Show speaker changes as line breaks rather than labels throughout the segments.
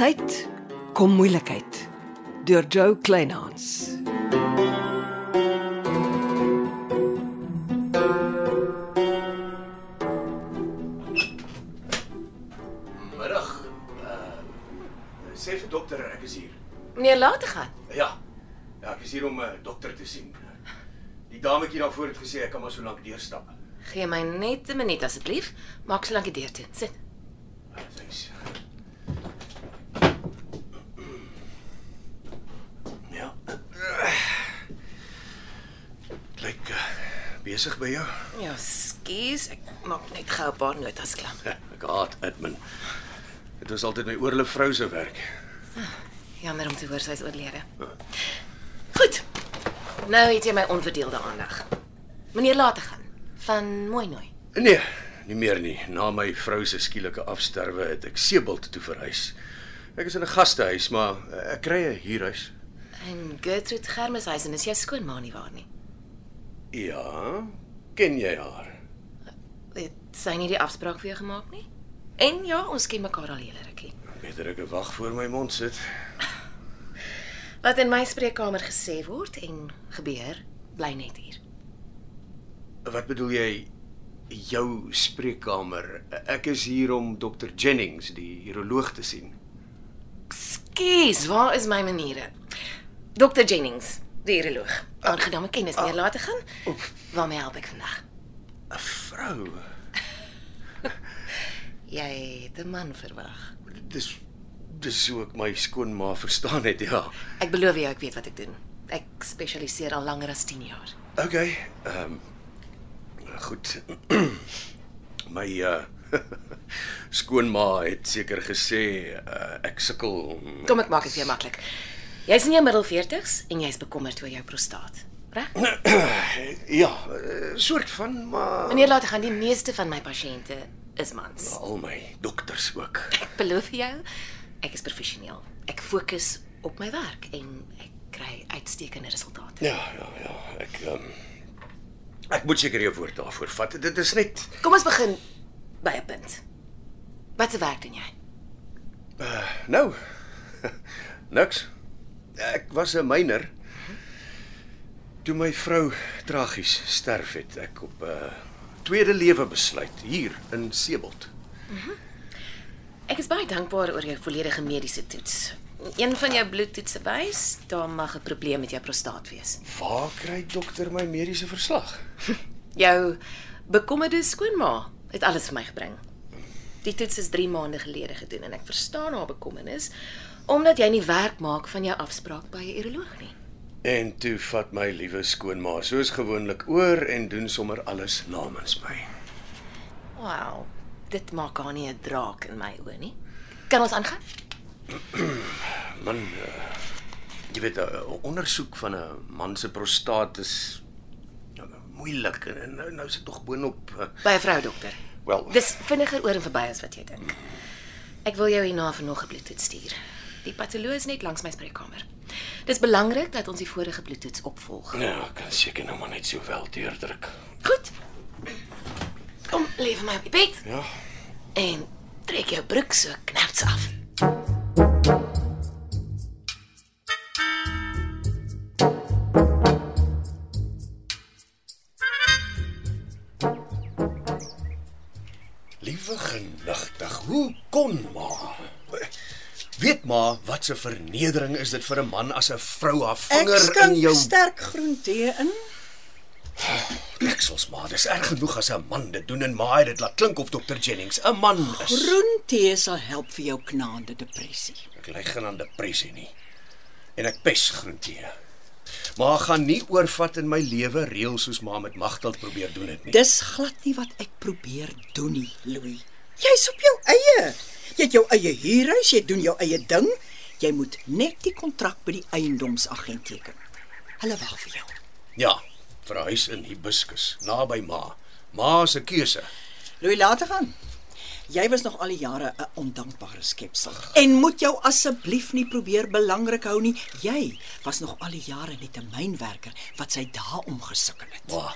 Uit kom moeilikheid deur Joe Kleinhans.
Middag. Uh, sê vir dokter ek is hier.
Nee, laat gaan.
Ja. Ja, ek is hier om 'n uh, dokter te sien. Die dametjie daarvoor het gesê ek kan maar so lank deurstap.
Gee my net 'n minuut asseblief. Maak so lank die deur toe. Sit.
Uh, thanks. Ja. Lyk uh, besig by jou.
Ja, skuis. Ek maak net gou 'n paar notas klaar.
Ja, Ek haat admin. Dit was altyd my oorle vrou se werk.
Jammer om te hoor sy is oorlede. Goed. Nou het jy my onverdeelde aandag. Meneer laat gaan van mooi nooi.
Nee, nie meer nie. Na my vrou se skielike afsterwe het ek Sebult toe verhuis. Ek is in 'n gastehuis, maar eh, ek kry 'n huurhuis.
En Gertrude Germishuisen is jou skoonma nie waar nie.
Ja, ken jy haar?
Het sy nie die afspraak vir jou gemaak nie? En ja, ons ken mekaar al 'n hele rukkie.
Beter ek wag voor my mond sit.
Wat in my spreekkamer gesê word en gebeur, bly net hier.
Wat bedoel jy jou spreekkamer? Ek is hier om dokter Jennings, die uroloog te sien.
Skuis, waar is my maniere? Dr Jennings, die uroloog. Aangename kennis, meneer laat gaan. Waarmee help ek vandag?
'n Vrou.
Jy het 'n man verwag.
Dis dis hoe ek my skoonma verstaan het, ja.
Ek beloof jou ek weet wat ek doen. Ek spesialiseer al langer as 10 jaar.
OK. Ehm um, goed. My uh skoonma het seker gesê uh, ek sukkel om
Kom ek maak dit vir jou maklik. Jy's in jou middel 40s en jy's bekommerd oor jou prostaat. Reg?
ja, eh, soort van maar
Meneer laat gaan die meeste van my pasiënte is mans.
al my dokters ook.
Ek beloof jou, ek is professioneel. Ek fokus op my werk en ek kry uitstekende resultate.
Ja, ja, ja, ek ehm um, ek moet seker jou woord daarvoor vat. Dit is net
Kom ons begin by 'n punt. Wat se werk doen jy?
nou niks. Ek was 'n myner. Toe my vrou tragies sterf het, ek op 'n uh, tweede lewe besluit hier in Sebelt.
Ek is baie dankbaar oor jou volledige mediese toets. Een van jou bloedtoetse wys daar mag 'n probleem met jou prostaat wees.
Waar kry dokter my mediese verslag?
Jou bekommerde skoonma het alles vir my gebring. Die toets is 3 maande gelede gedoen en ek verstaan haar bekommernis omdat jy nie werk maak van jou afspraak by 'n uroloog nie.
En toe vat my liewe skoonma soos gewoonlik oor en doen sommer alles namens my.
Wow, dit maak haar nie 'n draak in my oë nie. Kan ons aangaan?
Man, uh, jy weet 'n uh, ondersoek van 'n man se prostaat is uh, moeilik en- en nou, nou is dit tog boonop uh,
By 'n vrou dokter.
wel
Dis vinniger oor en verby as wat jy dink. Ek wil jou hierna vir nog 'n bloedtoets stuur. Die patoloog is net langs my spreekkamer. Dis belangrik dat ons die vorige bloedtoets opvolg.
Ja, ek kan seker nou maar net so wel deurdruk.
Goed. Kom, lê vir my op die bed.
Ja.
en trek jou broek so knaps af.
Liewe genigtig, hoe kon ma? Weet ma wat 'n vernedering is dit vir 'n man as 'n vrou haar
Ek
vinger in
skink jou...
jou
sterk groen tee in.
deksels ma. Dis erg genoeg as 'n man dit doen en ma het dit laat klink of dokter Jennings 'n man is.
Groen tee sal help vir jou knaande depressie.
Ek ly geen aan depressie nie. En ek pes groentee. Maar gaan nie oorvat in my lewe reël soos ma met Magdal probeer doen dit nie.
Dis glad nie wat ek probeer doen nie, Louis. Jy's op jou eie. Jy het jou eie huurhuis, jy doen jou eie ding. Jy moet net die kontrak by die eiendomsagent teken. Hulle wag vir jou.
Ja, vir 'n huis in Hibiscus, naby ma. Ma se keuse.
Louis, laat dit gaan. Jy was nog al die jare 'n ondankbare skepsel en moet jou asseblief nie probeer belangrik hou nie. Jy was nog al die jare net 'n mynwerker wat sy dae omgesukkel het.
Ma,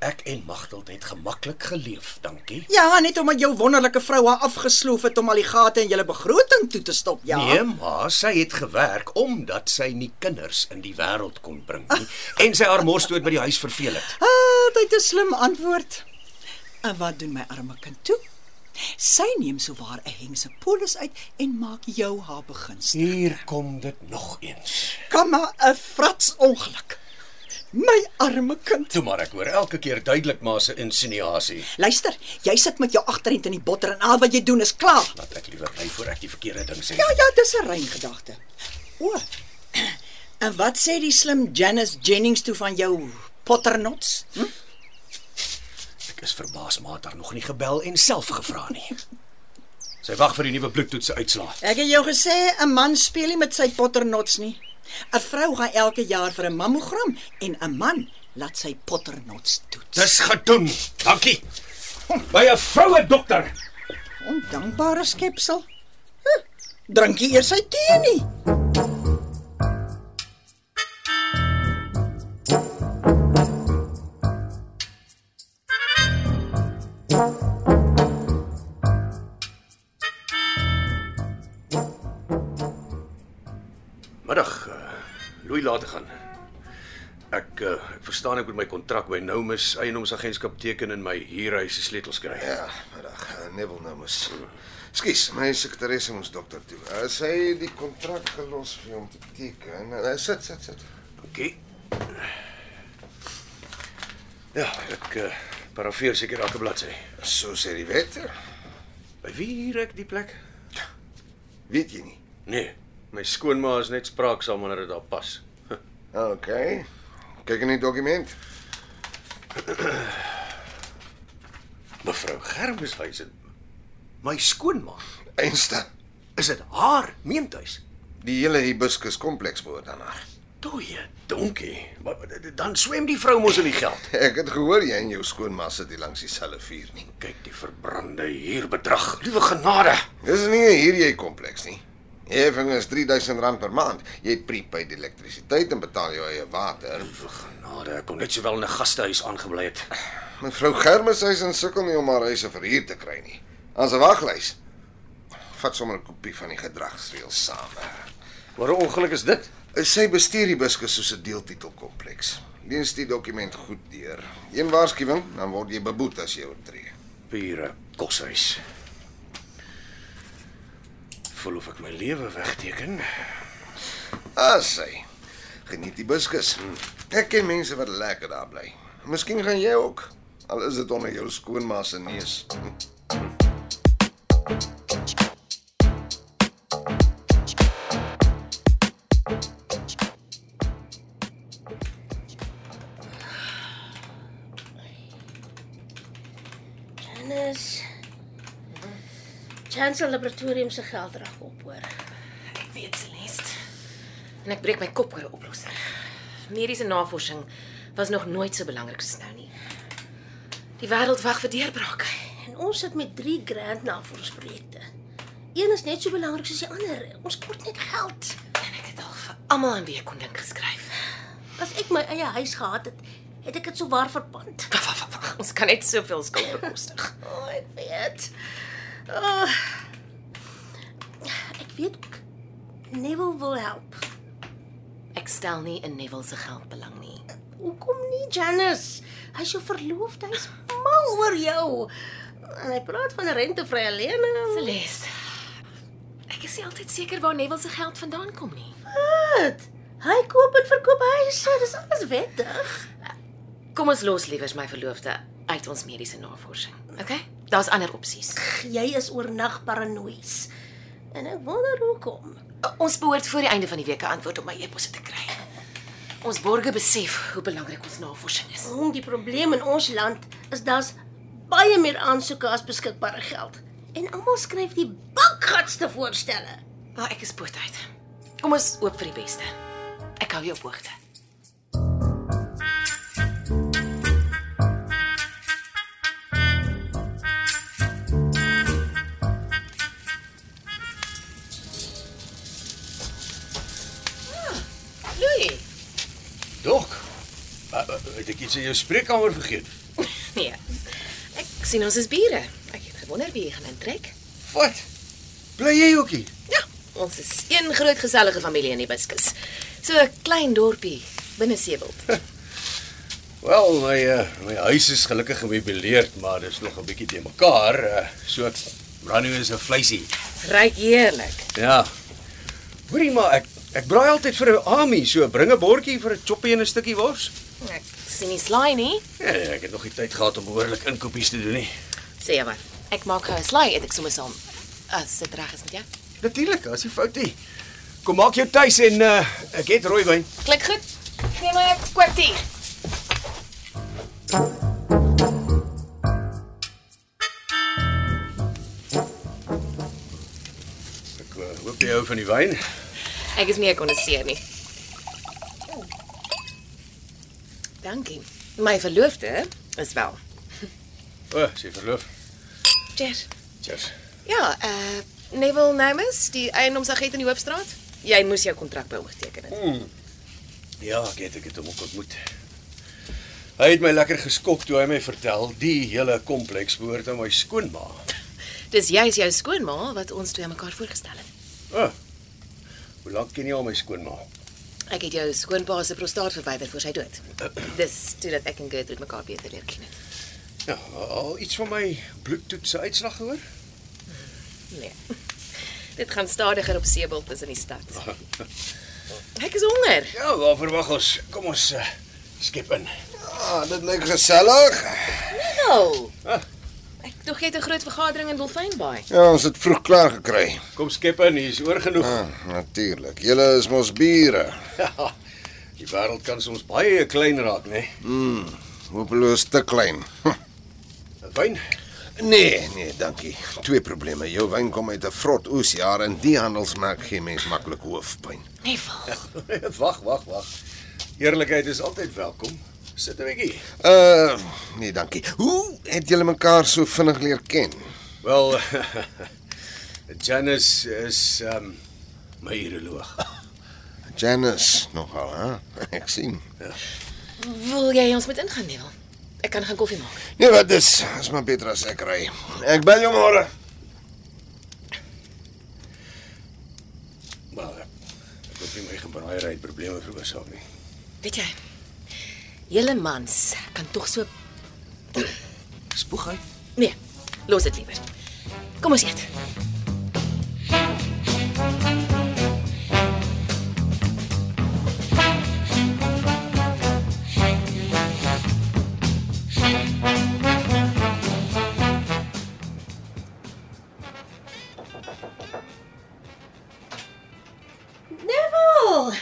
Ek en Magteld het gemaklik geleef, dankie.
Ja, net omdat jou wonderlike vrou haar afgesloof het om al die gate in julle begroting toe te stop, ja.
Nee, maar sy het gewerk omdat sy nie kinders in die wêreld kon bring nie en sy haar mosdood by die huis verveel het.
Ah, dit is 'n slim antwoord. En wat doen my arme kind toe? Sy neem sowaar 'n hengse polis uit en maak jou haar beginsel.
Hier kom dit nog eens.
Kom maar 'n frats ongeluk. My arme kind.
Toe maar ek hoor elke keer duidelik maar se insinuasie.
Luister, jy sit met jou agterend in die botter en al wat jy doen is klaar.
Laat ek liewer bly voor ek die verkeerde ding sê.
Ja, ja, dis 'n rein gedagte. O. En wat sê die slim Janice Jennings toe van jou potternots? Hm?
Ek is verbaas maar het haar nog nie gebel en self gevra nie. Sy wag vir die nuwe bloedtoets se uitslae.
Ek het jou gesê 'n man speel nie met sy potternots nie. 'n Vrou gaan elke jaar vir 'n mammogram en 'n man laat sy potternots toets.
Dis gedoen. Dankie. By 'n vroue dokter.
Ondankbare skepsel. Huh, Drankie eers sy tee nie.
Middag. Uh, Louis laat gaan. Ek uh, ek verstaan ek moet my kontrak by Noumus Eienaarsagentskap teken en my huurhuis se sleutels kry.
Ja, middag. Uh, Neville nou mos. Skus, my sekretaresse moes dokter toe. Uh, sy het die kontrak gelos vir hom te teken. Uh, sit, sit, sit.
Okay. Ja, ek uh, parafeer seker elke bladsy.
So sê die wet.
By wie huur ek die plek?
Weet jy nie.
Nee, my skoonma is net spraaksaam wanneer dit daar pas.
OK. Kyk in die dokument.
Mevrou Germeshuis het my skoonma.
Einstein.
Is dit haar meentuis?
Die hele hibiscus kompleks behoort aan haar.
Toe, donkie. Maar dan swem die vrou mos in die geld.
Ek het gehoor jy en jou skoonma sit hier langs dieselfde vuur nie.
Kyk die verbrande huurbedrag. Liewe genade.
Dis nie 'n hierjie kompleks nie. Die Heffing is R3000 per maand. Jy het prepaid elektrisiteit en betaal jou eie water.
Genade, ek kon net sowel in 'n gastehuis aangebly het.
Mevrou Germeshuisen sukkel nie om haar huis vir huur te kry nie. Ons 'n waglys. Vat sommer 'n kopie van die gedragsreëls saam.
Wat 'n ongeluk is dit?
Sy bestuur die buskus soos 'n deeltitelkompleks. Lees die dokument goed deur. Een waarskuwing, dan word jy beboet as jy oortree.
Pure koshuis. Voel of ek my lewe wegteken.
As sy geniet die buskus. Ek ken mense wat lekker daar bly. Miskien gaan jy ook. Al is dit onder jou skoonma se neus.
Dennis. Chancellor Laboratorium se geld raak op hoor.
Ek weet Celeste. En ek breek my kop oor 'n oplossing. Mediese navorsing was nog nooit so belangrik soos nou nie. Die wêreld wag vir deurbrake.
En ons sit met 3 grand navorsingsprojekte. Een is net so belangrik soos die ander. Ons kort net geld.
En ek het al vir almal aan wie ek kon dink geskryf.
As ek my eie huis gehad het, het ek dit sou waar verpand.
Wag, wag, wag, wag. Ons kan net soveel skuld bekostig.
O, oh, ek weet. Oh. Ek weet ook, Neville wil help.
Ek stel nie in Neville se geld belang nie.
Hoekom nie, Janice? Hy's jou verloofde, hy's mal oor jou. En hy praat van 'n rentevrye lening.
Celeste. Ek is nie altyd seker waar Neville se geld vandaan kom nie.
Wat? Hy koop en verkoop huise, dis alles wettig.
Kom ons los liewers my verloofde uit ons mediese navorsing. OK? Daar's ander opsies.
Jy is oornag paranoïes. En ek wonder hoekom.
Ons behoort voor die einde van die week 'n antwoord op my e-posse te kry. Ons borge besef hoe belangrik ons navorsing is.
Hom die probleem in ons land is daar's baie meer aansoeke as beskikbare geld. En almal skryf die bakgatste voorstelle.
Maar ek is boot uit. Kom ons oop vir die beste. Ek hou jou op hoogte. Louis, Ah,
Dok. eh, eh, Het ek iets in jou spreekkamer vergeet?
Nee, sien ons is bure. Ek het gewonder wie jy gaan intrek.
Wat? Bly jy ook hier?
Ja, ons is een groot gesellige familie in die Buskus. So 'n klein dorpie binne Seewald.
Wel, my uh, my huis is gelukkig gemeubileerd, maar dis nog 'n bietjie te mekaar. Uh, so Brando is 'n vleisie.
Ryk heerlik.
Ja. Hoorie maar ek ek braai altyd vir 'n Ami, so bring 'n bordjie vir 'n choppie en 'n stukkie wors.
Ek sien nie slaai nie.
Ja, ek het nog nie tyd gehad om behoorlik inkopies te doen nie.
Sê jy wat? Ek maak gou 'n slaai eet ek sommer saam. Ah, As dit reg is met jou.
Natuurlik, as jy fout nie. Kom maak jou tuis en uh, ek het rooiwyn.
Klink goed. Gee my 'n kwartier.
Ek uh, hoop jy hou van die wyn.
Ek is nie ek konseer nie. Oh. Dankie. My verloofde is wel.
O, oh, sy verloof.
Cheers.
Cheers.
Ja, eh uh, Neville Namus, die eiendomsagent in die Hoopstraat. Jy moes jou kontrak by hom geteken het.
Ja, ek het ek het hom ook ontmoet. Hy het my lekker geskok toe hy my vertel die hele kompleks behoort aan my skoonma.
Dis juis jou skoonma wat ons twee aan mekaar voorgestel het.
O. Oh, hoe lank ken jy al my skoonma?
Ek het jou skoonpa se prostaat verwyder voor sy dood. Dis toe dat ek en Gertrude mekaar beter leer ken het.
Ja, al iets van my bloedtoets se uitslag gehoor?
Nee. Dit gaan stadiger op Sebel tussen die stad. Ek is honger.
Ja, waar verwag ons? Kom ons uh, skep in.
Ah, dit lyk gesellig.
Nou. Ek dog jy het 'n groot vergadering in Dolfynbaai.
Ja, ons het vroeg klaar gekry.
Kom skep in, hier's oor genoeg.
Ah, natuurlik. Julle is mos bure.
Ja, die wêreld kan soms baie klein raak, né? Nee?
Hopeloos te klein.
Wyn?
Nee, nee, dankie. Twee probleme. Jou wyn kom uit 'n vrot oesjaar en die handelsmerk gee mens maklik hoofpyn.
Neville.
wag, wag, wag. Eerlikheid is altyd welkom. Sit 'n bietjie.
Uh, nee, dankie. Hoe het julle mekaar so vinnig leer ken?
Wel, Janice is ehm um, my uroloog.
Janice nogal, hè? Ek sien.
Wil jy ons met ingaan, Neville? Ek kan gaan koffie maak.
Nee, wat dis? Is maar beter as ek ry. Ek bel jou môre.
Wel, ek hoop nie my gebraaiery het probleme veroorsaak nie.
Weet jy? Julle mans kan tog so
Spoeg hy.
Nee, los dit liewer. Kom ons eet.
Neville.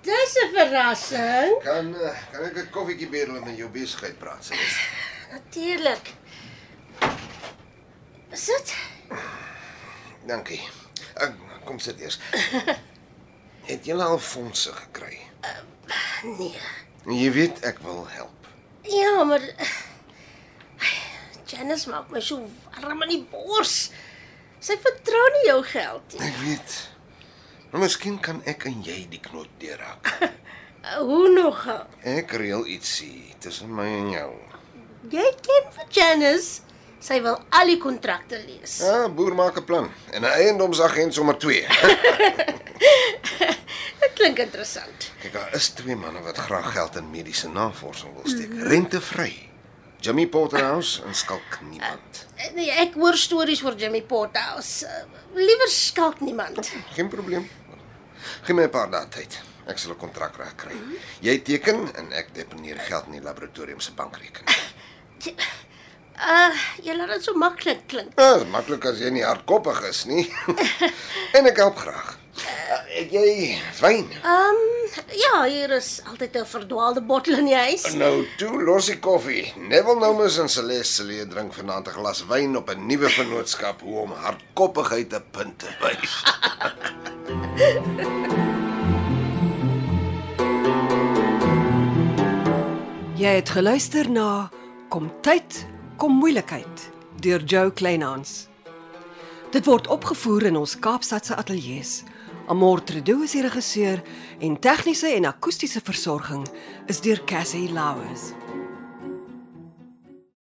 Dis 'n verrassing.
Kan eh, kan ek 'n koffietjie bedel en met jou besigheid praat? Sies?
Natuurlik. Sit.
Dankie. Ek kom sit eers. Het julle al fondse gekry?
Nee.
Jy weet ek wil help.
Ja, maar eh, Janice maak my so warm in die bors. Sy vertrou nie jou geld nie.
Ek weet. Maar miskien kan ek en jy die knoop deurraak.
Uh, Hoe nogal?
Ek reël ietsie tussen my en jou.
Jy ken vir Janice. Sy wil al die kontrakte lees.
Ja, boer maak 'n plan en 'n eiendomsagent sommer 2.
Dit klink interessant.
Kyk, daar is twee manne wat graag geld in mediese navorsing wil steek, rentevry. Jimmy Potterhouse en skalk niemand.
Eh, Nee, ek hoor stories oor Jimmy Pothouse. Eh, Liewer skalk niemand.
Geen probleem. Gee my 'n paar dae tyd. Ek sal 'n kontrak regkry. Jy teken en ek deponeer geld in die laboratorium se bankrekening.
Uh, jy laat dit so maklik klink.
Ja, Dis maklik as jy nie hardkoppig is nie. en ek help graag. Uh, Het jy wyn?
Ehm um, ja, hier is altyd 'n verdwaalde bottel in die huis.
Nou toe los die koffie. Neville Nomus en Celeste Celee drink vanaand 'n glas wyn op 'n nuwe vennootskap hoe om hardkoppigheid 'n punt te wys.
Jy het geluister na Kom tyd, kom moeilikheid deur Jo Kleinhans. Dit word opgevoer in ons Kaapstadse ateljee se. Amortredo is die regisseur en tegniese en akoestiese versorging is deur Cassie Lauers.